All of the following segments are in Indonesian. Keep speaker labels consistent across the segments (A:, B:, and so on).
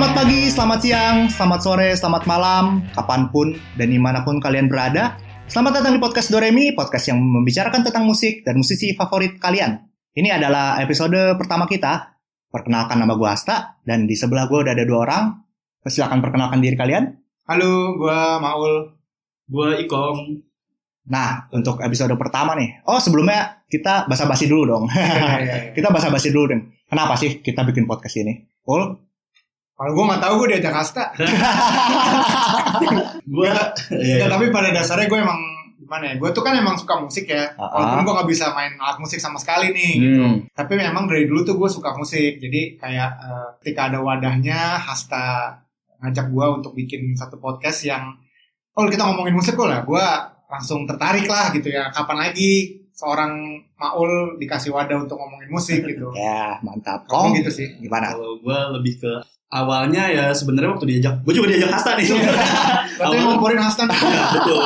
A: selamat siang, selamat sore, selamat malam, kapanpun dan dimanapun kalian berada. Selamat datang di podcast Doremi, podcast yang membicarakan tentang musik dan musisi favorit kalian. Ini adalah episode pertama kita. Perkenalkan nama gue Asta, dan di sebelah gue udah ada dua orang. Silahkan perkenalkan diri kalian.
B: Halo, gua Maul.
C: Gua Ikom.
A: Nah, untuk episode pertama nih. Oh, sebelumnya kita basa-basi dulu dong.
B: Iya,
A: kita basa-basi dulu dong. Kenapa sih kita bikin podcast ini? Ul?
B: Kalau gua nggak tahu gua diajak Asta.
C: Gua
B: Ya,
C: Iya, iya.
B: tapi pada dasarnya gua emang gimana ya? Gua tuh kan emang suka musik ya.
A: Ah,
B: Walaupun
A: ah.
B: gua nggak bisa main alat musik sama sekali nih.
A: Hmm.
B: Tapi memang dari dulu tuh gua suka musik. Jadi kayak eh, ketika ada wadahnya, Hasta ngajak gua untuk bikin satu podcast yang oh kita ngomongin musik kok lah. Gua langsung tertarik lah gitu ya. Kapan lagi seorang Maul dikasih wadah untuk ngomongin musik gitu.
C: Oh.
A: Ya, mantap.
B: Kong
A: Kong,
B: gitu sih.
A: gimana?
C: Kalau gua lebih ke awalnya ya sebenarnya waktu diajak, gua juga diajak Hasta nih.
B: Berarti yang ngomporin Hasta nih.
C: Iya, betul.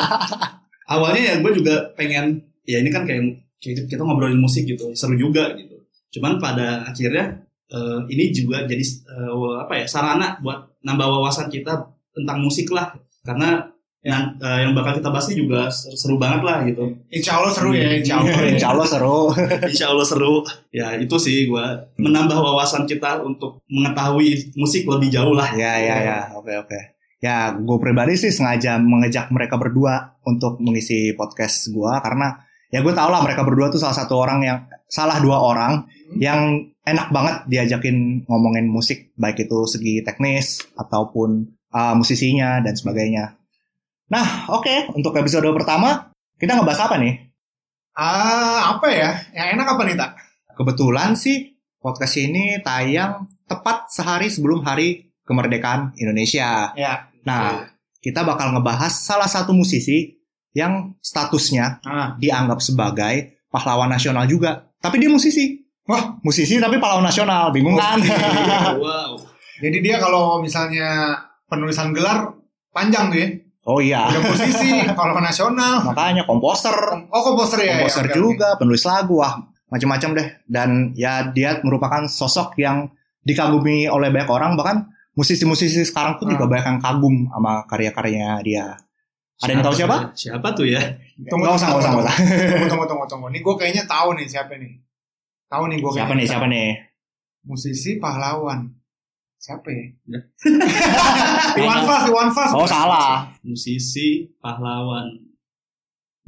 C: Awalnya ya gua juga pengen ya ini kan kayak kayak kita ngobrolin musik gitu, seru juga gitu. Cuman pada akhirnya eh, ini juga jadi eh, apa ya sarana buat nambah wawasan kita tentang musik lah karena yang eh, yang bakal kita bahas ini juga seru, seru banget lah gitu.
B: Insya Allah seru ya, insya Allah.
A: Insya Allah seru.
C: Insya Allah seru. Ya itu sih gua menambah wawasan kita untuk mengetahui musik lebih jauh lah.
A: Ya, ya, ya. Oke, oke. Ya, gue pribadi sih sengaja mengejak mereka berdua untuk mengisi podcast gue karena ya gue tau lah mereka berdua tuh salah satu orang yang salah dua orang yang enak banget diajakin ngomongin musik baik itu segi teknis ataupun uh, musisinya dan sebagainya. Nah, oke untuk episode pertama kita ngebahas apa nih?
B: Ah, apa ya? Yang enak apa nih, Tak?
A: Kebetulan sih podcast ini tayang tepat sehari sebelum hari kemerdekaan Indonesia.
B: Ya.
A: Nah, kita bakal ngebahas salah satu musisi yang statusnya
B: Ah,
A: dianggap sebagai pahlawan nasional juga. Tapi dia musisi. Wah, musisi tapi pahlawan nasional. Bingung kan?
C: wow.
B: jadi dia kalau misalnya penulisan gelar panjang tuh ya.
A: oh iya.
B: Ada posisi kalau nasional.
A: Makanya komposer,
B: Oh, komposer ya.
A: komposer
B: ya, oke,
A: juga, penulis lagu, wah, macam-macam deh. Dan ya dia merupakan sosok yang dikagumi oleh banyak orang bahkan musisi-musisi sekarang pun juga
B: Hmm.
A: banyak yang kagum sama karya-karyanya dia. Ada yang tahu siapa?
C: Siapa tuh ya?
B: Tunggu,
A: Nggak usah, nggak
B: tunggu,
A: usah, nggak usah.
B: oke. Tunggu, tunggu, tunggu, tunggu. Nih gue kayaknya tahu nih siapa nih. Tahu nih gue
A: Siapa nih? Siapa nih?
B: Musisi pahlawan. Siapa ya?
C: Ya.
B: Iwan Fals, Iwan Fals.
A: Oh, salah.
C: Musisi, pahlawan.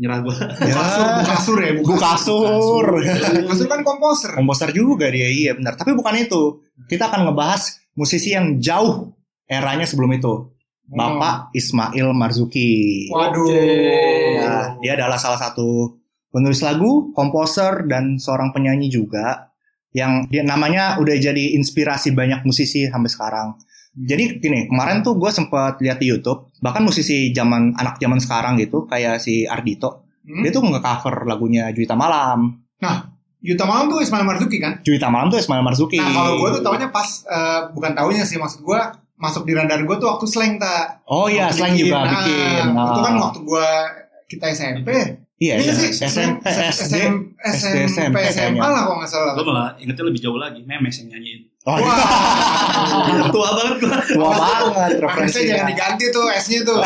C: Nyerah gua.
B: Bukasur, Bukasur ya,
A: Bu
B: Bukasur.
A: kasur.
B: Bukasur kan komposer.
A: komposer juga dia iya benar tapi bukan itu kita akan ngebahas musisi yang jauh eranya sebelum itu Bapak Ismail Marzuki
B: Waduh.
C: Oke.
A: Ya, dia adalah salah satu penulis lagu komposer dan seorang penyanyi juga yang dia namanya udah jadi inspirasi banyak musisi sampai sekarang jadi gini kemarin tuh gue sempat lihat di YouTube bahkan musisi zaman anak zaman sekarang gitu kayak si Ardito
B: Hmm?
A: dia tuh nge-cover lagunya Juwita Malam
B: Yuta Malam tuh Ismail Marzuki kan?
A: Juwita Malam tuh Ismail Marzuki
B: Nah kalau gue tuh taunya pas eh, bukan taunya sih maksud gue masuk di radar gue tuh waktu slang tak.
A: Oh iya,
B: Waktu
A: slang juga
B: Nah,
A: bikin.
B: Itu kan
A: Ah.
B: waktu gue kita SMP.
A: Iya,
B: Iya sih.
A: SMP, SD.
B: SM-
A: SD,
B: SMP,
A: SMP.
B: SMA lah kalau nggak salah.
A: Oh,
C: Gua malah ingetnya lebih jauh lagi. Memes yang nyanyiin.
A: Wah,
B: Wah,
C: Tua banget gua.
A: tua banget
B: maksudnya jangan
A: referensinya.
B: diganti tuh S-nya tuh.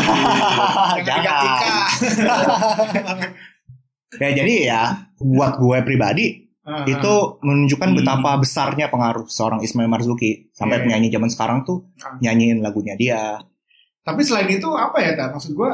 B: jangan diganti K.
A: ya. Ah, Jangan. Ya jadi ya, buat gue pribadi itu menunjukkan
C: Hmm.
A: betapa besarnya pengaruh seorang Ismail Marzuki sampai
B: Iya.
A: penyanyi zaman sekarang tuh
B: Ah.
A: nyanyiin lagunya dia.
B: Tapi selain itu apa ya tak? Maksud gue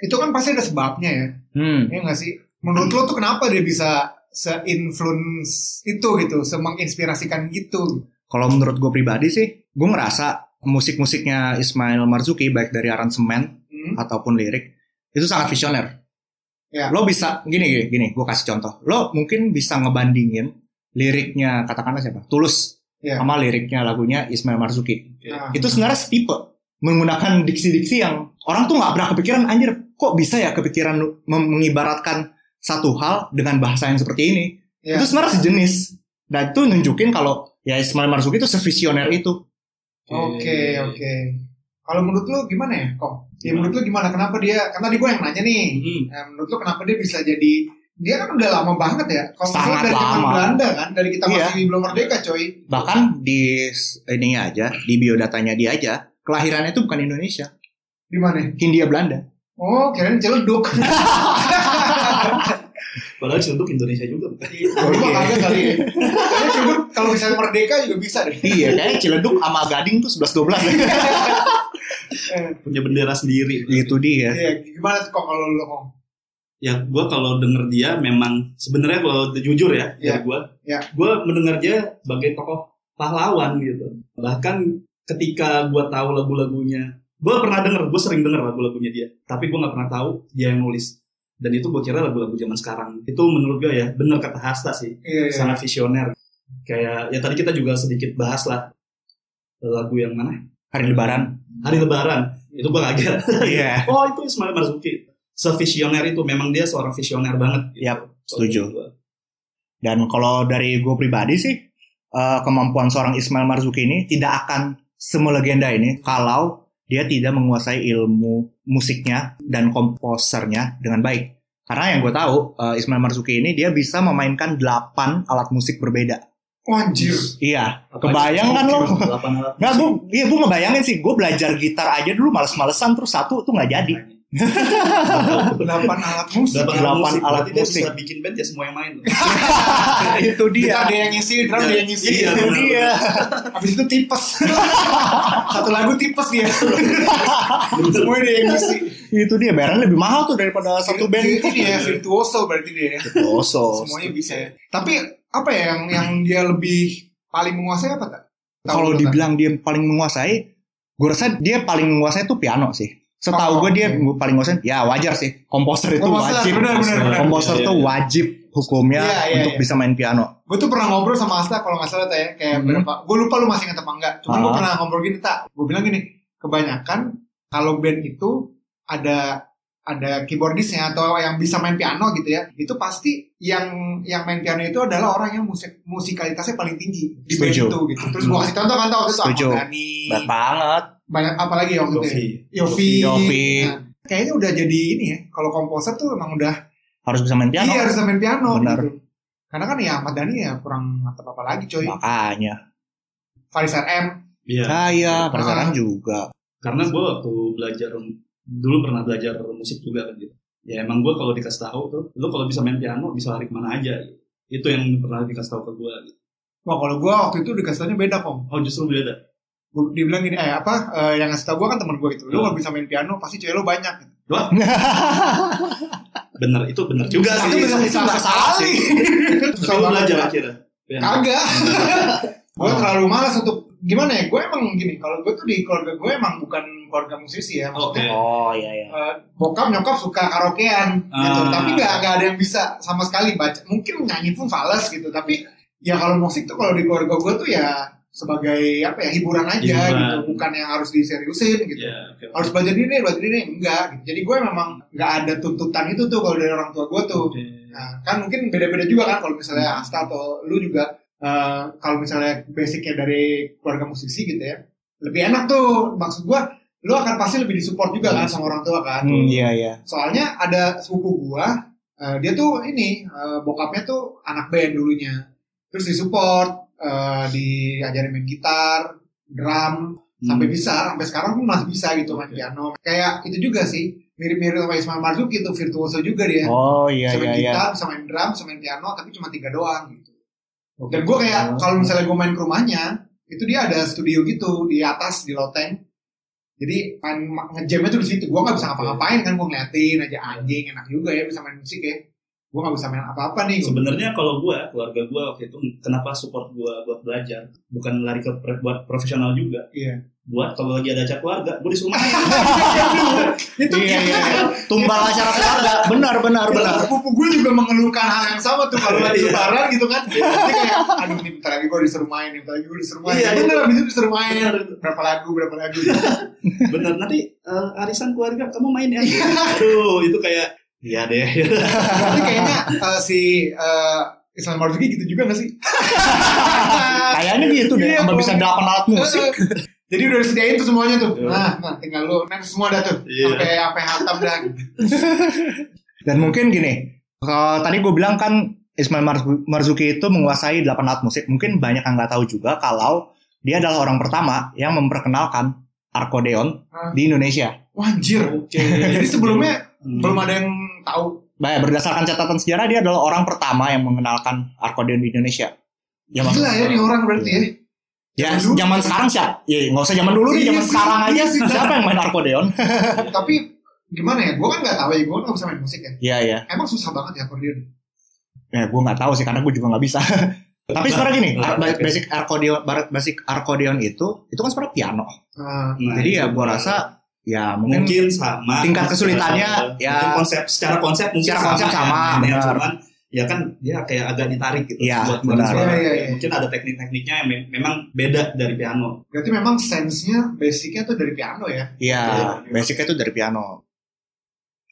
B: itu kan pasti ada sebabnya ya.
A: Hmm.
B: Iya nggak sih? Menurut lo tuh kenapa dia bisa se-influence itu gitu, semenginspirasikan gitu?
A: Kalau menurut gue pribadi sih, gue ngerasa musik-musiknya Ismail Marzuki baik dari aransemen
B: Hmm?
A: ataupun lirik itu sangat visioner.
B: Ya.
A: Lo bisa gini gini, gini gue kasih contoh. Lo mungkin bisa ngebandingin liriknya katakanlah siapa? Tulus
B: Ya.
A: sama liriknya lagunya Ismail Marzuki.
B: Nah,
A: Itu sebenarnya setipe menggunakan diksi-diksi yang orang tuh nggak pernah kepikiran anjir kok bisa ya kepikiran lu mem- mengibaratkan satu hal dengan bahasa yang seperti ini.
B: Ya.
A: Itu sebenarnya sejenis. Dan itu nunjukin kalau ya Ismail Marzuki itu sevisioner itu. Iya,
B: Oke oke. Kalau menurut lo gimana ya, Kong? Ya
C: Gimana?
B: menurut lo gimana? Kenapa dia? Karena tadi gue yang nanya nih.
C: Hmm.
B: Nah, menurut lo kenapa dia bisa jadi? Dia kan udah lama banget ya. Kalau nggak salah
A: Sangat
B: dari zaman
A: lama.
B: Belanda kan, dari kita
A: Iya.
B: masih belum merdeka, coy.
A: Bahkan di ini aja, di biodatanya dia aja kelahirannya itu bukan Indonesia,
B: Di mana?
A: Hindia Belanda.
B: Oh, kirain celeduk.
C: Padahal Ciledug Indonesia juga. bukan?
A: iya.
B: Gua kagak kali. ya. Kayaknya Ciledug kalau misalnya merdeka juga bisa deh.
A: iya, kayaknya Ciledug sama Gading tuh 11 12.
C: Punya bendera sendiri.
A: itu dia.
B: Iya, gimana tuh kok kalau lo kok?
C: Ya gue kalau denger dia memang sebenarnya kalau jujur ya
B: Iya.
C: dari gue,
B: Iya.
C: gue mendengar dia sebagai tokoh pahlawan gitu. Bahkan ketika gue tahu lagu-lagunya, gue pernah denger, gue sering denger lagu-lagunya dia. Tapi gue nggak pernah tahu dia yang nulis. Dan itu gue kira lagu-lagu zaman sekarang. Itu menurut gue ya bener kata Hasta sih.
B: Iya, iya.
C: sangat visioner. Kayak ya tadi kita juga sedikit bahas lah lagu yang mana?
A: Hari Lebaran.
C: Hari Lebaran. Itu gue kaget.
A: Iya.
C: oh itu Ismail Marzuki. Sevisioner itu memang dia seorang visioner banget. Gitu.
A: Yap, setuju.
C: Kalau menurut
A: Dan kalau dari gue pribadi sih, eh, kemampuan seorang Ismail Marzuki ini tidak akan semelegenda ini kalau dia tidak menguasai ilmu musiknya dan komposernya dengan baik. Karena yang gue tahu, eh, Ismail Marzuki ini dia bisa memainkan 8 alat musik berbeda.
B: Oh, anjir.
A: Iya,
C: gua.
A: kebayang kan lo?
C: Delapan alat
A: Nggak,
C: musik.
A: gue, iya, gue ngebayangin sih, gue belajar gitar aja dulu males-malesan, terus satu tuh nggak jadi.
B: Delapan alat musik.
C: Delapan alat
A: Delapan
C: musik.
A: alat
C: Berarti dia
A: musik.
C: bisa bikin band ya semua yang main.
A: Nah, Itu
B: Kita
A: dia.
B: ada yang ngisi, drum ada yang ngisi.
C: Iya,
A: Itu dia.
B: Habis itu tipes. Satu lagu tipes dia. Semuanya dia yang ngisi.
A: Itu dia, bayarnya lebih mahal tuh daripada satu band. Iya. Oh,
B: Ini ya virtuoso berarti dia.
A: Dosos.
B: Semuanya bisa ya. Tapi apa ya yang yang dia lebih paling menguasai apa tak? Tahu
A: kalau
B: lu, Tak?
A: dibilang dia paling menguasai, gue rasa dia paling menguasai tuh piano sih. Setahu
B: Oh,
A: gue dia
B: oke.
A: paling menguasai, ya wajar sih. Komposer itu
B: Komposer,
A: wajib.
B: benar, benar,
C: benar.
A: Komposer
C: Iya,
A: tuh
C: iya.
A: wajib hukumnya
B: Iya, iya,
A: untuk
B: iya.
A: bisa main piano.
B: Gue tuh pernah ngobrol sama Asta kalau nggak salah tak ya kayak
A: Hmm.
B: berapa. Gue lupa lu masih ingat apa enggak. Cuman gue
A: Ah.
B: pernah ngobrol gini tak. Gue bilang gini, kebanyakan kalau band itu ada ada keyboardisnya atau yang bisa main piano gitu ya itu pasti yang yang main piano itu adalah orang yang musik musikalitasnya paling tinggi di band
A: Setuju.
B: itu gitu terus gue kasih contoh kan tau waktu itu
A: Setuju.
B: Ahmad Dhani,
A: Berat banget.
B: banyak apalagi waktu itu ya?
C: Yofi.
B: Yofi.
A: Yofi.
B: Nah, kayaknya udah jadi ini ya. Kalau komposer tuh emang udah
A: Harus bisa main piano.
B: iya harus main piano
A: Benar.
B: gitu. Karena kan ya Ahmad Dhani ya kurang mantap apa lagi coy.
A: Makanya.
B: Faris RM.
C: Iya.
A: Saya penasaran
B: Ah.
A: juga.
C: karena gue waktu belajar dulu pernah belajar musik juga kan gitu ya emang gue kalau dikasih tahu tuh lu kalau bisa main piano bisa lari kemana aja gitu. itu yang pernah dikasih tahu ke gue gitu.
B: Wah kalau gue waktu itu dikasih taunya beda kom.
C: oh justru beda
B: Gua dibilang gini eh apa eh, yang ngasih tau gue kan teman gue itu. Lu
C: Hmm.
B: kalau bisa main piano pasti cewek lu banyak. Gitu.
C: bener itu bener juga sih
B: Tapi bisa bisa
C: Tapi
B: sekali. Susah
C: lu
B: banget.
C: belajar Oh. akhirnya Ya.
B: Kagak. gue terlalu malas untuk gimana ya gue emang gini kalau gue tuh di keluarga gue emang bukan keluarga musisi ya
C: oke
A: Oh iya iya.
B: Eh, bokap nyokap suka karaokean gitu
C: Ah.
B: tapi nggak nggak ada yang bisa sama sekali baca mungkin nyanyi pun fales gitu tapi ya kalau musik tuh kalau di keluarga gue tuh ya sebagai apa ya hiburan aja
C: Hiburan.
B: gitu bukan yang harus diseriusin gitu
C: ya oke
B: harus belajar ini belajar ini enggak gitu. jadi gue memang nggak ada tuntutan itu tuh kalau dari orang tua gue tuh
C: Oke.
B: Nah, kan mungkin beda-beda juga kan kalau misalnya Asta atau lu juga eh, kalau misalnya basicnya dari keluarga musisi gitu ya lebih enak tuh maksud gua lu akan pasti lebih disupport juga kan sama orang tua kan
A: Hmm, iya iya.
B: soalnya ada sepupu gua eh, dia tuh ini eh, bokapnya tuh anak band dulunya terus disupport eh, diajarin main gitar drum sampai
C: Hmm.
B: bisa sampai sekarang pun masih bisa gitu main piano kayak itu juga sih mirip-mirip sama Ismail Marzuki itu virtuoso juga dia
A: Oh iya iya
B: bisa main
A: iya.
B: gitar, bisa main drum, bisa main piano, tapi cuma tiga doang gitu. Dan gue kayak
A: Oh.
B: kalau misalnya gue main ke rumahnya, itu dia ada studio gitu di atas di loteng. Jadi main ma- ngejamnya tuh di situ. Gue nggak bisa ngapa-ngapain kan, gue ngeliatin aja anjing enak juga ya bisa main musik ya. Gue nggak bisa main apa-apa nih. gua.
C: Sebenarnya kalau gue, keluarga gue waktu itu kenapa support gue buat belajar, bukan lari ke pre- buat profesional juga.
B: Iya.
C: Buat kalau lagi ada acara keluarga, gue disuruh main.
B: itu
A: Iya, iya.
B: iya.
A: Tumbal acara keluarga. Benar benar benar.
B: Sepupu gue juga mengeluhkan hal yang sama tuh kalau lagi
C: Iya.
B: lebaran gitu kan. Dia kayak, aduh nih bentar lagi gue disuruh main, nih, bentar lagi gue disuruh main.
C: Iya, iya.
B: bener, abis itu disuruh main. Berapa lagu, berapa lagu.
C: Bener, nanti eh, arisan keluarga kamu main ya. Aduh, itu kayak iya deh.
B: Tapi kayaknya eh, si eh, Ismail Marzuki gitu juga gak sih?
A: Kayaknya gitu deh.
B: Iya,
A: Tambah bisa
B: kalau-
A: delapan alat musik.
B: Jadi udah disediain tuh semuanya tuh.
C: Iya.
B: Nah, nah tinggal lu main semua dah tuh.
C: Iya.
B: Sampai sampai hatam dah.
A: Dan mungkin gini, kalau tadi gue bilang kan Ismail Marz- Marzuki itu menguasai 8 alat musik. Mungkin banyak yang nggak tahu juga kalau dia adalah orang pertama yang memperkenalkan Arkodeon
B: Ah.
A: di Indonesia.
B: Wah, anjir. Jadi sebelumnya
C: Hmm.
B: belum ada yang tahu.
A: Bah, berdasarkan catatan sejarah dia adalah orang pertama yang mengenalkan Arkodeon di Indonesia. Ya,
B: Gila
A: maksud-
B: ya di orang berarti ya.
A: Ya,
B: Zaman dulu.
A: zaman sekarang siapa? Ya, nggak usah zaman dulu nih,
B: Iya
A: zaman
B: sih,
A: sekarang aja
B: iya sih.
A: siapa yang main Arkodeon?
B: Tapi gimana ya? Gue kan nggak tahu ya. Gue nggak bisa main musik ya.
A: Iya, iya.
B: Emang susah banget ya akordeon.
A: Ya, gue nggak tahu sih karena gue juga nggak bisa. Tapi sebenarnya gini,
C: Nah,
A: ar- ba-
C: oke.
A: basic arkodeon, bar- basic arkodeon itu, itu kan sebenarnya piano.
B: Nah,
C: Nah,
A: Jadi ya
C: itu.
A: gue rasa, ya mungkin,
C: mungkin sama
A: tingkat kesulitannya,
C: Secara-
A: ya-
C: mungkin konsep secara konsep mungkin
A: Secara konsep sama,
C: ya, mainnya,
A: benar.
C: cuman ya kan dia kayak agak ditarik gitu
A: Iya,
C: buat buat
A: benar.
C: suara.
B: Iya, iya, iya.
C: mungkin ada teknik-tekniknya yang me- memang beda dari piano
B: berarti memang sense-nya, basicnya tuh dari piano ya.
A: ya
B: Iya.
A: basicnya itu dari piano.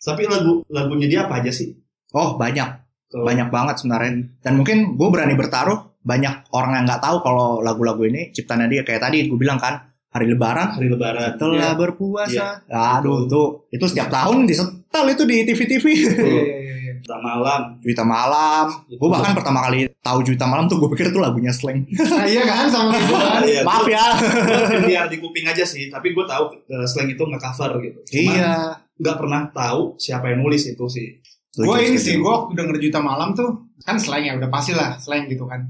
C: tapi lagu lagunya dia apa aja sih
A: Oh banyak,
C: Kalau-
A: banyak banget sebenarnya. Dan mungkin gue berani bertaruh banyak orang yang nggak tahu kalau lagu-lagu ini ciptaannya dia kayak tadi gue bilang kan hari Lebaran
C: hari lebaran ya,
A: telah berpuasa. Aduh tuh itu setiap tahun disetel itu di TV-TV.
C: Betul.
B: iya, iya.
C: Kita malam
A: Juwita Malam. Gue bahkan pertama kali tahu Juwita Malam tuh gue pikir tuh lagunya slang.
B: Nah, iya kan sama kayak gua.
C: Iya,
A: Maaf ya.
C: gua biar di kuping aja sih tapi gue tahu eh, slang itu nggak cover gitu Cuman
A: Iya.
C: nggak pernah tahu siapa yang nulis itu sih
B: Gue
A: Setuju,
B: ini sih,
A: setuju.
B: gue waktu denger Juta Malam tuh, kan slang ya, udah pasti lah slang gitu kan.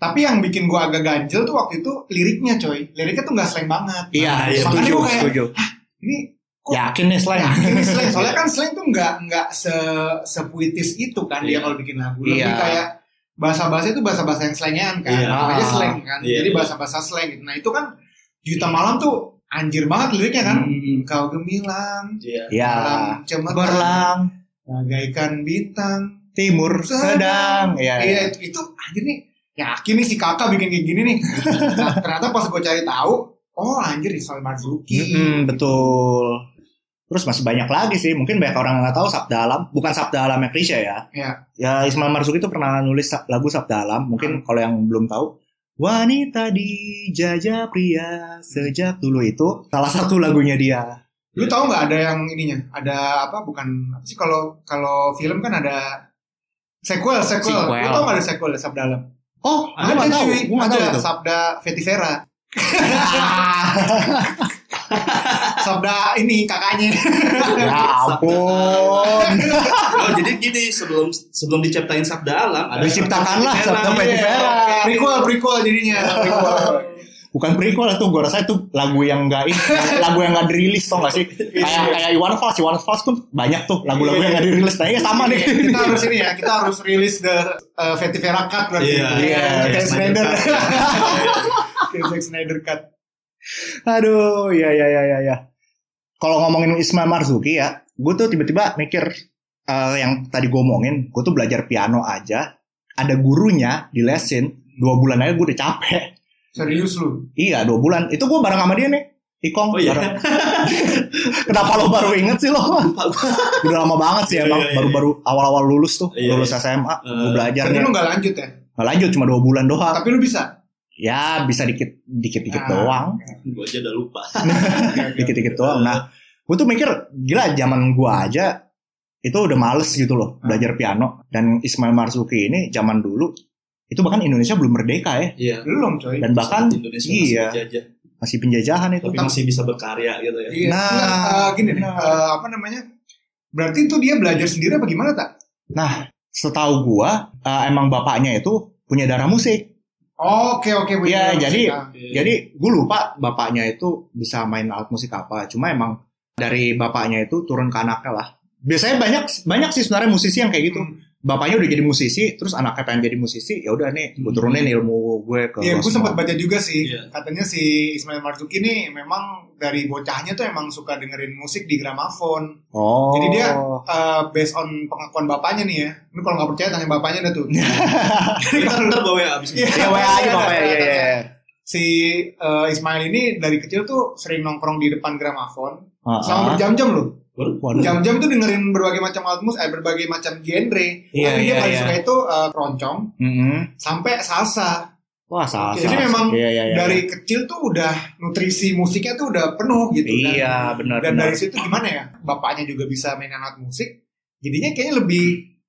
B: Tapi yang bikin gue agak ganjel tuh waktu itu liriknya coy. Liriknya tuh gak slang banget.
A: Iya,
C: Nah,
A: iya,
C: makanya
A: setuju,
B: gua kayak-
A: setuju. Ya,
B: Ini kok
A: Yakin nih slang.
B: ini slang? Soalnya kan slang tuh gak, nggak se sepuitis itu kan dia
C: Iya.
B: kalau bikin lagu. Lebih
A: Iya.
B: kayak bahasa-bahasa itu bahasa-bahasa yang slangan kan.
C: Iya.
B: Namanya slang kan.
C: Iya,
B: Jadi
C: iya.
B: bahasa-bahasa slang gitu. Nah itu kan Juta Malam tuh anjir banget liriknya kan.
C: Hmm,
B: Kau gemilang,
C: iya.
A: Iya.
B: dalam cemerlang,
A: Berlang
B: bagaikan bintang,
A: timur sedang. Iya.
B: Iya itu, itu anjir nih yakin nih si kakak bikin kayak gini nih. Nah, ternyata pas gue cari tahu, oh anjir Ismail Marzuki.
A: Mm-mm, betul. Terus masih banyak lagi sih, mungkin banyak orang yang nggak tahu Sabda Alam, bukan Sabda Alam yang Krisya ya.
B: Iya.
A: Ya Ismail Marzuki itu pernah nulis sa- lagu Sabda Alam,
B: Hmm.
A: mungkin kalau yang belum tahu. Wanita dijajah pria sejak dulu itu salah satu lagunya dia.
B: Lu tahu nggak ada yang ininya? Ada apa? Bukan apa sih kalau kalau film kan ada sequel sequel.
A: Sequel.
B: Lu tahu nggak ada sequel Sabda Alam?
A: Oh, gue nggak tahu,
B: cuy.
A: gue nggak tahu
B: Ada
A: itu.
B: Sabda Fetisera. Sabda ini kakaknya.
A: ya ampun.
C: Oh, jadi gini sebelum sebelum diciptain sabda alam ada
A: Diciptakanlah Sabda
C: Iya.
A: Fetisera.
B: Prequel prequel jadinya.
A: Iya,
B: Prequel.
A: Bukan prequel tuh, gue rasa itu lagu yang nggak ini, yang- lagu yang nggak dirilis tau gak sih? Kayak kayak Iwan Fals, Iwan Fals pun banyak tuh lagu-lagu yang nggak dirilis. Nah, iya sama nih.
B: kita harus ini ya kita harus rilis the uh, Fatty Vera cut berarti
C: Iya,
A: iya,
B: Kayak
C: Zack
B: Snyder
C: Snyder
B: Kayak Zack Snyder cut
A: Aduh, ya ya ya ya ya. Kalau ngomongin Ismail Marzuki ya, gue tuh tiba-tiba mikir eh, yang tadi gue omongin, gue tuh belajar piano aja, ada gurunya di lesin, dua bulan aja gue udah capek.
B: serius lu
A: Iya, dua bulan. Itu gue bareng sama dia nih. Ikong,
C: Oh iya.
A: bareng. Kenapa lo baru inget sih lo? Udah lama banget sih
C: Iya,
A: emang.
C: iya, iya.
A: Baru-baru awal-awal lulus tuh,
C: Iya,
A: lulus SMA, gue
C: Eh,
A: belajar
B: tapi
A: nih.
B: lu gak lanjut ya
A: Nggak lanjut cuma dua bulan doang.
B: tapi lu bisa
A: Ya bisa dikit, dikit-dikit
B: Ah.
A: doang.
C: Gue aja udah lupa.
A: dikit-dikit
C: Iya.
A: doang. Nah, gue tuh mikir gila zaman
C: Hmm.
A: gua aja itu udah males gitu loh belajar piano dan Ismail Marzuki ini zaman dulu itu bahkan Indonesia belum merdeka ya
C: Iya.
B: belum coy
A: dan bahkan
C: Indonesia
A: iya.
C: masih dijajah,
A: masih penjajahan itu.
C: tapi masih bisa berkarya gitu ya.
B: Iya.
A: Nah.
B: Nggak, eh, gini deh
A: Nah.
B: eh, apa namanya berarti itu dia belajar sendiri apa gimana tak
A: Setahu gua eh, emang bapaknya itu punya darah musik.
B: oke oke Bu.
A: Iya, jadi-
B: Nah,
A: Jadi gue lupa bapaknya itu bisa main alat musik apa. Cuma emang dari bapaknya itu turun ke anaknya lah. Biasanya banyak banyak sih sebenarnya musisi yang kayak gitu.
B: Hmm.
A: Bapaknya udah jadi musisi, terus anaknya pengen jadi musisi. Ya udah nih, gue turunin ilmu gue ke.
B: Hmm. Iya, gue
A: semua.
B: sempat baca juga sih.
C: Iya.
B: Katanya si Ismail Marzuki ini memang dari bocahnya tuh emang suka dengerin musik di gramafon.
A: Oh.
B: Jadi dia- Eh, based on pengakuan bapaknya nih ya. Lu kalau nggak percaya tanya bapaknya dah
A: Iya,
B: tuh.
C: Kita ntar bawa ya abis ini.
B: Iya.
A: ya WA aja Bapak ya. ya, ya.
B: Si eh, Ismail ini dari kecil tuh sering nongkrong di depan gramafon
A: Ah,
B: selama berjam-jam loh.
C: Waduh.
A: Waduh.
B: Jam-jam itu dengerin berbagai macam alat musik, eh, berbagai macam genre.
A: Iya,
B: Tapi dia
A: iya,
B: paling
A: iya.
B: suka itu eh, keroncong
A: Mm-mm.
B: sampai salsa.
A: Wah, salah.
B: Jadi memang
A: iya, iya, iya.
B: Dari kecil tuh udah nutrisi musiknya tuh udah penuh gitu. Dan-
A: Iya, benar
B: Dan
A: benar.
B: dari situ gimana ya? Bapaknya juga bisa main alat musik. Jadinya kayaknya lebih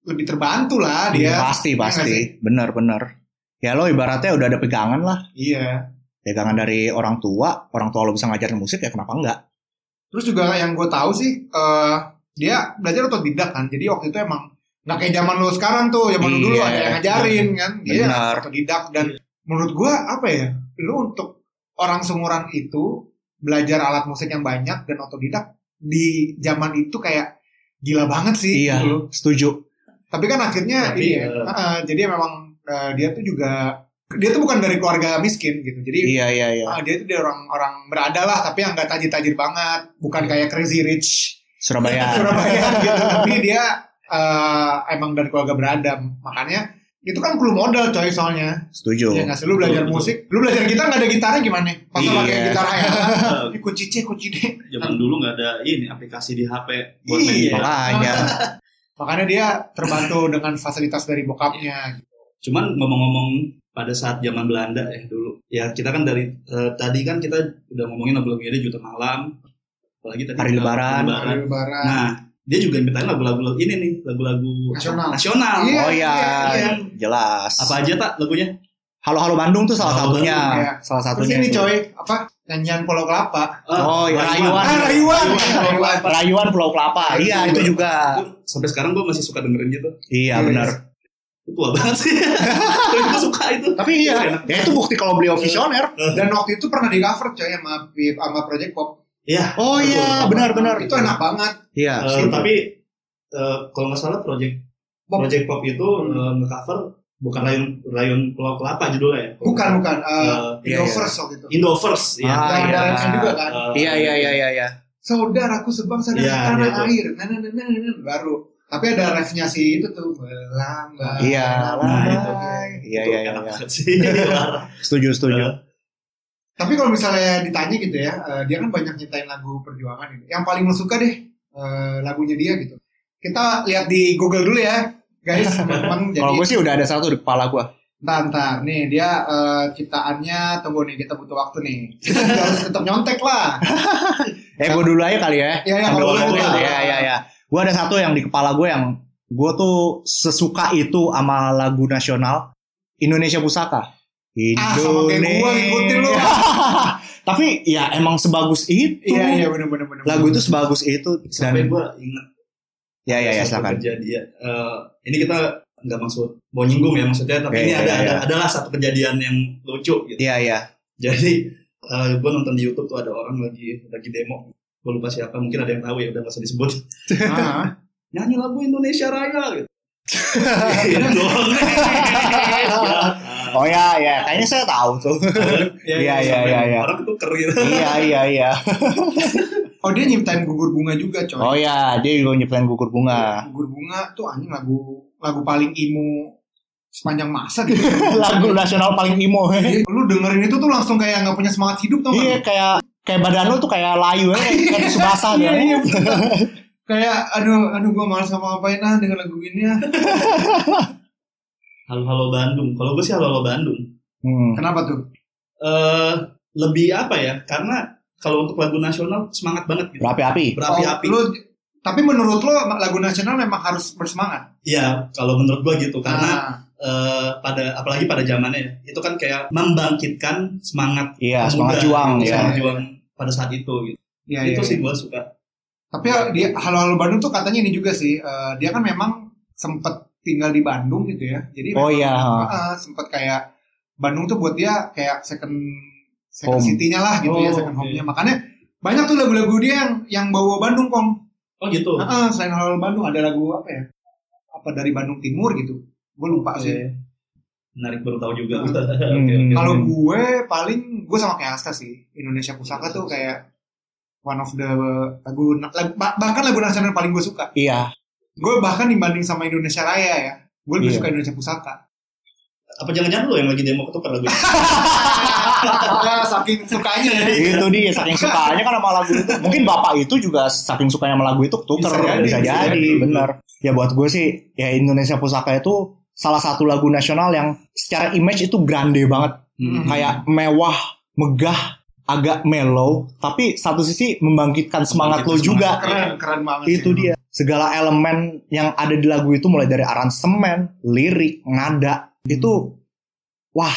B: lebih terbantu lah dia. Iya,
A: pasti
B: nggak
A: pasti
B: sih?
A: benar benar ya lo ibaratnya udah ada pegangan lah
B: Iya.
A: pegangan dari orang tua orang tua lo bisa ngajarin musik ya kenapa enggak
B: Terus juga yang gue tahu sih eh, dia belajar otodidak kan. Jadi waktu itu emang nggak kayak zaman lo sekarang tuh, zaman lu dulu
A: Iya.
B: ada yang ngajarin kan. Dia
A: Benar.
B: otodidak dan menurut gue apa ya? Lu untuk orang seumuran itu belajar alat musik yang banyak dan otodidak di zaman itu kayak gila banget sih. gitu loh.
A: Iya. setuju
B: Tapi kan akhirnya
C: Tapi,
B: ini ya,
C: eh,
B: eh, jadi memang eh, dia tuh juga dia tuh bukan dari keluarga miskin gitu. Jadi
A: iya iya iya
B: Ah, dia itu dia orang-orang berada lah, tapi yang nggak tajir-tajir banget, bukan
A: Iya.
B: kayak crazy rich
A: Surabaya
B: Surabaya gitu. Tapi dia eh, emang dari keluarga berada, makanya itu kan perlu modal coy soalnya.
A: setuju
B: Ya nggak sih? lu belajar
C: Betul,
B: musik, lu belajar gitar nggak ada gitarnya gimana? Pas lu pakai
A: Iya.
B: gitar ya,
C: Eh,
B: ini kunci C, kunci D.
C: zaman dulu nggak ada ini aplikasi di HP buat main
B: Iya.
C: gitar.
A: makanya
B: Makanya dia terbantu dengan fasilitas dari bokapnya. gitu.
C: Cuman ngomong-ngomong pada saat zaman Belanda ya dulu. Ya kita kan dari eh, tadi kan kita udah ngomongin lagu-lagu dia Juta Malam, apalagi tadi
A: Hari
C: kita-
A: Lebaran.
C: Lebaran.
B: Hari Lebaran.
C: Nah, dia juga mintain lagu-lagu ini nih, lagu-lagu
B: Nasional.
C: Nasional.
B: Iya,
A: oh ya
B: iya, iya.
A: jelas
C: Apa aja tak lagunya?
A: halo halo Bandung tuh salah
C: Halo
A: satunya
B: Bandung, iya.
A: salah
B: Terus
A: satunya
B: ini
A: itu.
B: coy, apa? Nyanyian Pulau Kelapa.
C: Eh,
A: Oh, iya, Rayuan.
B: Ah, rayuan.
C: Rayuan.
A: Rayuan Pulau Kelapa iya
C: Rayuan.
A: itu juga
C: Itu Sampai sekarang gue masih suka dengerin gitu.
A: iya
B: Yes.
A: benar
C: Itu Tua banget sih. Tapi gue suka itu.
A: tapi iya ya itu bukti kalau beliau visioner
B: Dan waktu itu pernah di cover coy sama sama Project Pop.
C: Iya.
A: oh iya benar benar
B: Itu enak banget.
A: iya
C: Eh, tapi eh, kalau nggak salah project
B: Pop.
C: project pop itu
B: Hmm.
C: eh, ngecover bukan rayon rayon pulau kelapa judulnya ya.
B: Bukan bukan. Uh,
C: Eh,
A: Iya, iya.
B: Go first waktu itu.
C: Indovers ya.
A: Ah,
B: Yang
A: iya.
B: ada Rensen juga kan.
C: Eh,
A: Iya iya iya iya iya.
B: Saudaraku sebangsa dan
C: Iya,
B: setanah
C: iya tuh.
B: air. Nah, nah, nah, nah, nah, nah. baru. Tapi ada refnya si itu tuh melambai.
A: Iya.
B: melambai.
C: Nah, itu. Nah,
A: Iya
C: itu
A: iya
C: enak
A: iya.
C: banget sih. Parah.
A: Setuju setuju.
C: Eh,
B: Tapi kalau misalnya ditanya gitu ya, eh, dia kan banyak nyetain lagu perjuangan ini. Yang paling lo suka deh eh, lagunya dia gitu. Kita lihat di Google dulu ya, guys, teman-teman.
A: Kalau
B: Jadi
A: gue sih udah ada satu di kepala gue.
B: Ntar, ntar. Nih, dia eh, ciptaannya, tunggu nih, kita butuh waktu nih. Kita juga harus tetap nyontek lah.
A: Eh gue dulu aja kali ya.
B: Iya, iya,
A: Sambil
B: kalau boleh,
A: ngomongin.
B: boleh.
C: ya,
A: Iya iya iya. Gue ada satu yang di kepala gue yang gue tuh sesuka itu sama lagu nasional Indonesia Pusaka.
B: Ah, sama kayak gua, ngikutin lu.
A: Tapi ya emang sebagus itu.
B: Iya, iya, bener-bener. bener.
A: Lagu itu sebagus itu
C: Sampai
A: dan
C: gue ingat
A: ya ya ya
C: satu
A: silakan.
C: kejadian. Eh, ini kita nggak maksud mau nyinggung ya maksudnya, tapi
A: Iya,
C: ini
A: iya,
C: ada,
A: iya.
C: ada adalah satu kejadian yang lucu gitu.
A: Iya iya.
C: Jadi eh gue nonton di YouTube tuh ada orang lagi lagi demo. Gue lupa siapa, mungkin ada yang tahu ya udah nggak usah disebut.
B: Ah.
C: Nyanyi lagu Indonesia Raya gitu. Itu doang.
A: Oh ya ya. Kayaknya saya tahu tuh. Iya, iya, iya, iya.
C: Orang tuh keren.
A: Iya iya iya.
B: Oh dia nyiptain gugur bunga juga coy.
A: Oh ya dia juga nyiptain gugur bunga.
B: Gugur bunga tuh anjing lagu lagu paling emo sepanjang masa gitu.
A: Lagu nasional paling emo.
B: Jadi, lu dengerin itu tuh langsung kayak nggak punya semangat hidup tuh.
A: Iya kayak kayak badan lu tuh kayak layu aja kayak gitu. di subasa
B: Iya,
A: dia.
B: iya, Kayak aduh aduh gua malas sama ngapain ah dengan lagu ini ya.
C: Halo Halo Bandung. Kalau gue sih Halo Halo Bandung.
A: Hmm.
B: Kenapa tuh?
C: Eh lebih apa ya? Karena kalau untuk lagu nasional semangat banget gitu.
A: Berapi-api.
C: Berapi-api.
B: Oh, lu tapi menurut lo lagu nasional memang harus bersemangat.
C: Iya, kalau menurut gue gitu. Karena
B: Nah,
C: eh, pada apalagi pada zamannya ya, itu kan kayak membangkitkan semangat
A: Iya,
C: pemuda,
A: semangat
C: gitu,
A: juang ya.
C: semangat juang pada saat itu gitu.
B: iya, iya,
C: itu sih
B: iya.
C: gue suka
B: Tapi ah, dia Halo Halo Bandung tuh katanya ini juga sih. eh, dia kan memang sempet tinggal di Bandung gitu ya. Jadi
A: Oh iya, ha.
B: Heeh, sempet kayak Bandung tuh buat dia kayak second
A: Home.
B: second
A: Hmm.
B: city-nya lah gitu ya
C: Oh,
B: second
C: oke.
B: home-nya. Makanya banyak tuh lagu-lagu dia yang yang bawa Bandung kong.
C: oh gitu
B: Heeh, selain hal Bandung ada lagu apa ya? Apa dari Bandung Timur gitu? Gue lupa
C: Oke.
B: sih.
C: menarik baru tahu juga
B: Hmm.
C: Oke, oke.
B: Kalau gue paling gue sama kayak Asta sih. Indonesia
C: Iya,
B: Pusaka tuh kayak one of the lagu lagu- bah- bahkan lagu nasional yang paling gue suka.
A: Iya.
B: Gue bahkan dibanding sama Indonesia Raya ya. Gue lebih
A: Iya.
B: suka Indonesia Pusaka.
C: apa jangan-jangan lo yang lagi demo ketukar lagu
B: Ah, Saking sukanya ya.
C: Iya.
A: itu dia saking sukanya kan sama lagu itu. Mungkin bapak itu juga saking sukanya sama lagu itu tuker
C: Bisa
A: bisa jadi,
C: jadi, bisa jadi.
A: benar. Ya buat gue sih ya Indonesia Pusaka itu salah satu lagu nasional yang secara image itu grande banget,
C: Hmm.
A: kayak mewah, megah, agak mellow, tapi satu sisi membangkitkan semangat lo
C: Membangkitkan
A: juga.
B: Keren, keren banget
A: itu
B: sih.
A: dia segala elemen yang ada di lagu itu mulai dari aransemen, lirik, nada itu wah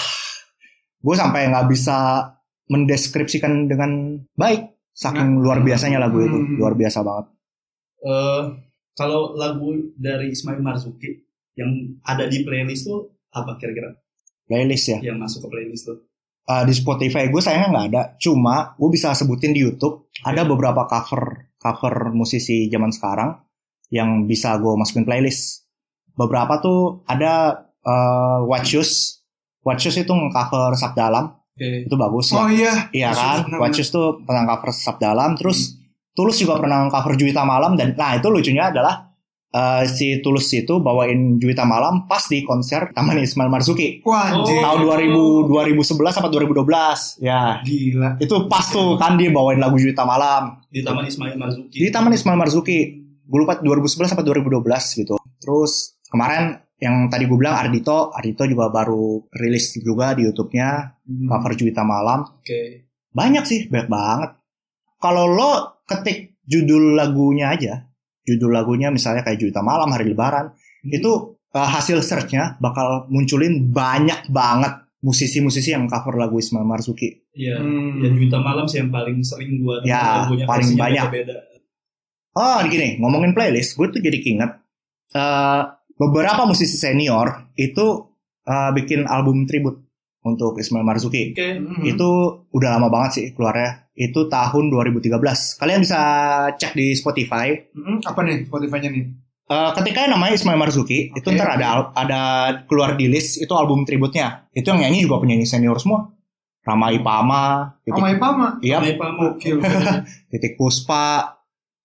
A: gue sampai nggak bisa mendeskripsikan dengan baik saking luar biasanya lagu itu
B: Hmm.
A: luar biasa banget
C: Eh, kalau lagu dari Ismail Marzuki yang ada di playlist tuh apa kira-kira
A: playlist ya
C: yang masuk ke playlist tuh?
A: Eh, di Spotify gue sayangnya nggak ada cuma gue bisa sebutin di YouTube ada beberapa cover cover musisi zaman sekarang yang bisa gue masukin playlist beberapa tuh ada eh What Shoes What Shoes itu nge-cover Sab Dalam
C: Oke.
A: itu bagus
B: Oh iya.
A: Iya
B: Watchus
A: kan,
B: pernah-
A: Watchus tuh pernah cover Sab Dalam, terus Tulus juga pernah cover Juwita Malam dan nah itu lucunya adalah eh, si Tulus itu bawain Juwita Malam pas di konser Taman Ismail Marzuki
B: Wah, anjir.
C: Oh.
A: tahun 2000 2011 apa 2012 ya
B: Gila.
A: itu pas tuh kan dia bawain lagu Juwita Malam
C: Di Taman Ismail Marzuki.
A: di Taman Ismail Marzuki gue lupa 2011 apa 2012 gitu terus kemarin yang tadi gue bilang Ardito Ardito juga baru rilis juga di YouTube-nya cover Juwita Malam
C: Hmm. Oke.
A: banyak sih, banyak banget. Kalau lo ketik judul lagunya aja, judul lagunya misalnya kayak Juta Malam, Hari Lebaran, itu eh, hasil searchnya bakal munculin banyak banget musisi-musisi yang cover lagu Ismail Marzuki.
C: Iya.
B: Hmm.
C: Ya Juwita Malam sih yang paling sering gua denger
A: Ya, paling
C: versinya
A: banyak.
C: Beda.
A: Oh, gini, ngomongin playlist, gue tuh jadi keinget eh, beberapa musisi senior itu eh, bikin album tribute untuk Ismail Marzuki.
C: Oke.
B: Hmm.
A: itu udah lama banget sih keluarnya itu tahun 2013 kalian bisa cek di Spotify
B: Hmm, apa nih Spotify-nya nih?
A: Eh, ketika namanya Ismail Marzuki itu
B: Oke.
A: ntar ada al- ada keluar di list itu album tributnya itu yang nyanyi juga penyanyi senior semua Rama Ipama
B: Oh,
A: titik,
B: My Pama.
A: iya,
C: Naik pamuk.
B: Gokil.
A: titik Puspa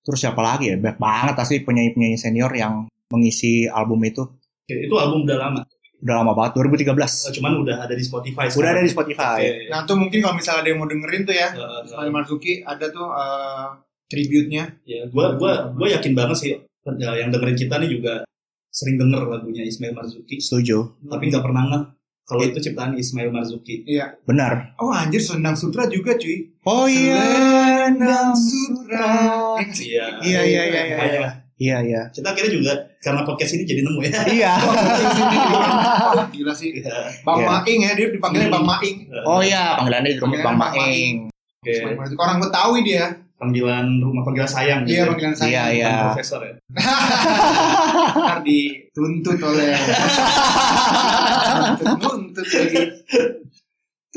A: terus siapa lagi ya banyak banget sih penyanyi penyanyi senior yang mengisi album itu
C: Oke, itu album udah lama. Eh,
A: udah lama banget 2013
C: Cuman udah ada di Spotify.
A: udah ada
C: sekarang.
A: di Spotify
C: Oke.
B: Nah, tuh mungkin kalau misalnya ada yang mau dengerin tuh ya,
C: Eh,
B: Ismail Marzuki ada tuh eh, tribute-nya.
C: Ya, gua gua gua yakin banget sih ya, yang dengerin kita nih juga sering denger lagunya Ismail Marzuki,
A: setuju
C: tapi nggak pernah ngeh kalau itu ciptaan Ismail Marzuki.
B: Iya.
A: benar
B: Oh anjir Selendang Sutra juga cuy.
A: oh
B: Selendang Sutra.
C: Iya.
A: iya iya iya iya
C: Makanya,
A: iya iya
C: Kita akhirnya juga karena podcast ini jadi nemu ya.
A: iya
B: Gila sih.
C: Iya.
A: Iya.
B: Bang Maing ya, dia dipanggilnya Bang Maing.
A: oh iya panggilannya di rumah Bang
B: Panggilannya Bang
A: Maeng
C: Oke.
B: Ismail Marzuki. Orang Betawi dia.
C: Panggilan rumah panggilan sayang.
B: Iya
C: gitu.
B: panggilan saya.
A: Iya, iya.
C: Bukan Profesor ya.
B: Ntar dituntut oleh. Nuntut lagi.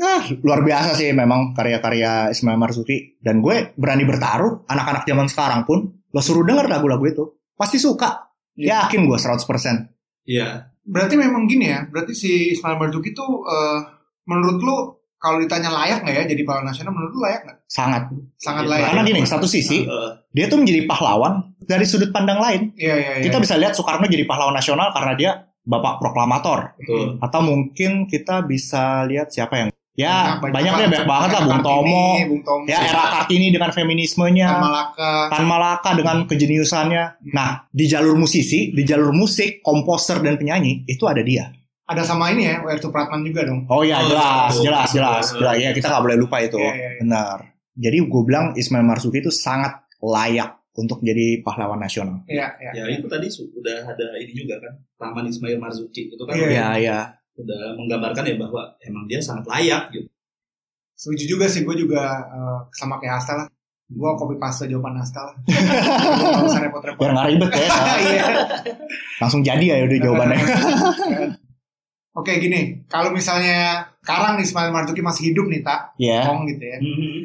A: Ah, luar biasa sih memang karya-karya Ismail Marzuki dan gue berani bertaruh anak-anak zaman sekarang pun lo suruh denger lagu-lagu itu pasti suka
B: Iya.
A: yakin gue 100%
C: Iya.
B: Berarti memang gini ya. Berarti si Ismail Marzuki tuh eh, menurut lu kalau ditanya layak nggak ya jadi pahlawan nasional menurut lu layak nggak?
A: sangat
B: Sangat
C: Iya,
B: layak.
A: karena gini satu sisi
C: Eh,
A: dia tuh menjadi pahlawan dari sudut pandang lain
B: Iya iya iya.
A: kita bisa lihat Soekarno jadi pahlawan nasional karena dia bapak proklamator
C: betul.
A: atau mungkin kita bisa lihat siapa yang ya
B: Nah, Banyak-
A: banyak deh banyak banget lah
B: Kartini,
A: Bung Tomo
B: Bung Tomo.
A: ya era Kartini dengan feminismenya
B: Malaka.
A: Tan Malaka dengan kejeniusannya. Nah, di jalur musisi, di jalur musik, komposer dan penyanyi itu ada dia.
B: Ada sama ini ya, Wertu Pratman juga dong.
A: Oh iya,
C: Oh,
A: jelas,
C: betul.
A: jelas, jelas,
C: Betul.
A: jelas. Ya kita nggak boleh lupa itu.
B: gitu. Iya, iya, iya.
A: Benar. Jadi gue bilang Ismail Marzuki itu sangat layak untuk jadi pahlawan nasional.
B: Iya iya.
C: Ya itu tadi sudah ada ini juga kan Taman Ismail Marzuki itu kan
B: Iya,
C: udah-
A: Iya, iya.
C: udah menggambarkan ya bahwa emang dia sangat layak gitu.
B: Setuju juga sih, gue juga eh, sama kayak Hasta lah. Gue copy paste jawaban Hasta lah. Gak usah repot-repot.
A: Biar nggak ribet ya.
B: Iya.
A: Langsung jadi ya udah jawabannya.
B: Oke gini, kalau misalnya sekarang nih Ismail Marzuki masih hidup nih tak,
A: Ya.
B: ngomong gitu ya.
C: Mhm.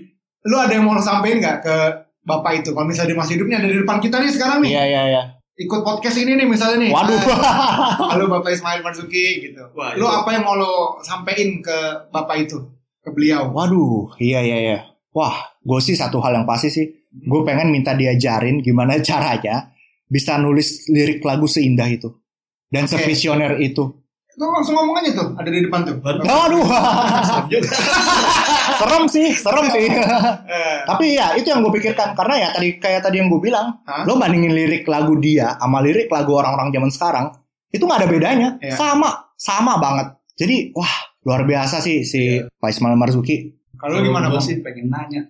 B: Lu ada yang mau lu sampein nggak ke bapak itu? Kalau misalnya dia masih hidup nih ada di depan kita nih sekarang nih,
A: Iya, iya, iya.
B: ikut podcast ini nih misalnya nih.
A: Waduh.
B: Ah, Halo bapak Ismail Marzuki gitu.
C: Wah,
B: Lu
C: itu-
B: apa yang mau lu sampein ke bapak itu, ke beliau?
A: Waduh, iya iya iya. Wah, gue sih satu hal yang pasti sih, gue pengen minta diajarin gimana caranya bisa nulis lirik lagu seindah itu dan
B: Oke.
A: sevisioner itu.
B: Lu langsung ngomong aja tuh, ada di depan tuh.
C: Baru-
A: Waduh,
C: Serem juga.
A: serem sih, serem sih.
B: Eh,
A: Tapi ya itu yang gue pikirkan karena ya tadi kayak tadi yang gue bilang,
B: Hah?
A: lo bandingin lirik lagu dia sama lirik lagu orang-orang zaman sekarang, itu nggak ada bedanya,
B: Iya.
A: sama sama banget. Jadi wah luar biasa sih si
B: Iya.
A: Pak Ismail Marzuki.
B: kalau lu gimana
C: Gua
B: bang?
C: sih pengen nanya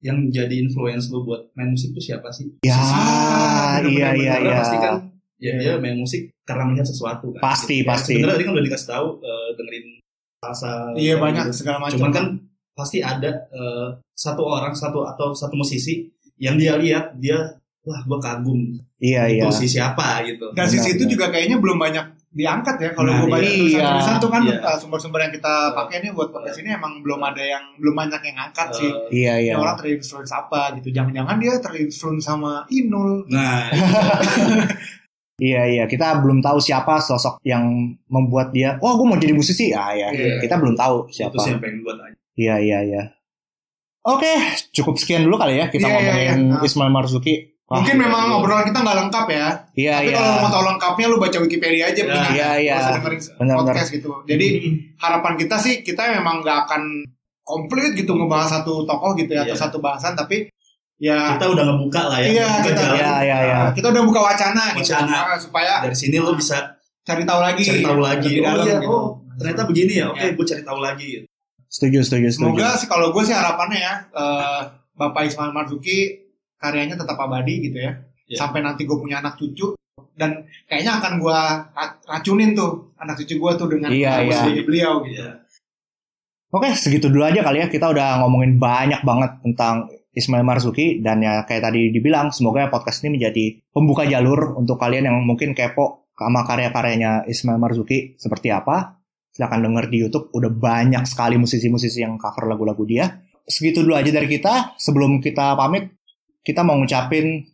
C: yang jadi influence lu buat main musik itu siapa sih?
A: Ya,
B: Ah,
A: iya
B: bener-bener,
A: iya
C: Karena
A: iya.
C: pasti kan ya
B: Iya.
C: dia main musik karena melihat sesuatu kan.
A: Pasti,
C: Gitu. Ya,
A: pasti.
C: Sebenarnya tadi kan udah dikasih tahu eh, dengerin salsa
B: Iya
C: kayak
B: banyak
C: gitu.
B: segala macam.
C: cuman kan pasti ada eh, satu orang satu atau satu musisi yang dia lihat dia wah gue kagum
A: Iya iya.
C: musisi siapa gitu
B: dan
A: Benar,
B: sisi itu juga kayaknya belum banyak diangkat ya kalau
C: Nah,
B: gue baca
A: iya.
B: tulisan-tulisan tuh kan
C: Iya.
B: uh, sumber-sumber yang kita pakai ini buat podcast ini emang belum ada yang belum banyak yang angkat
C: Eh,
B: sih.
A: Iya iya.
B: Ini orang terinfluence apa gitu? Jangan-jangan dia terinfluence sama Inul.
C: nah
A: Iya iya. Kita belum tahu siapa sosok yang membuat dia. Wah gue mau jadi musisi. Ah ya.
C: Iya.
A: Kita belum tahu
B: Gitu
A: siapa.
C: itu sih yang pengen buat aja
A: Iya iya iya. Oke, cukup sekian dulu kali ya kita
B: Iya, iya,
A: ngomongin
B: iya. Nah.
A: Ismail Marzuki. Wah,
C: iya,
B: Mungkin memang obrolan kita nggak lengkap ya.
A: Iya
B: Tapi
A: iya.
B: kalau mau tahu lengkapnya lu baca Wikipedia aja
C: Iya, Hmm.
B: mendingan.
A: iya, iya.
B: Nggak usah dengerin
A: Benar,
B: podcast gitu. Jadi harapan kita sih kita memang nggak akan komplit gitu ngebahas satu tokoh gitu ya atau
C: Hmm. Iya.
B: satu bahasan tapi ya
C: kita udah ngebuka lah ya
B: Iya,
C: Kita
B: kita-
C: jalan.
A: Iya iya iya.
B: Nah, kita udah buka wacana, gitu.
C: Wacana.
B: Ah, supaya
C: dari sini lo bisa
B: cari tahu lagi
C: cari tahu lagi
B: lebih
C: oh
B: dalam
C: iya
B: gitu.
C: oh ternyata begini ya oke
B: Iya.
C: gue cari tahu lagi gitu.
A: Setuju setuju setuju.
B: semoga sih kalau gue sih harapannya ya eh, Bapak Ismail Marzuki karyanya tetap abadi gitu ya
C: Iya.
B: sampai nanti gue punya anak cucu dan kayaknya akan gue racunin tuh anak cucu gue tuh dengan
A: Iya,
B: musik
C: iya.
B: beliau gitu
C: Iya.
A: Oke, segitu dulu aja kali ya. Kita udah ngomongin banyak banget tentang Ismail Marzuki dan ya kayak tadi dibilang, semoga podcast ini menjadi pembuka jalur untuk kalian yang mungkin kepo sama karya-karyanya Ismail Marzuki seperti apa. Silahkan denger di YouTube, udah banyak sekali musisi-musisi yang cover lagu-lagu dia. Segitu dulu aja dari kita. Sebelum kita pamit, kita mau ngucapin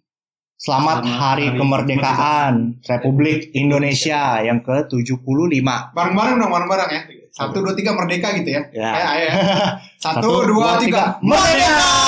A: Selamat,
C: Selamat
A: Hari
C: Hari
A: Kemerdekaan Republik Indonesia yang ke-75.
B: bareng-bareng dong bareng-bareng ya satu dua tiga merdeka gitu ya
A: Ya.
B: Kayak ayah. satu dua tiga merdeka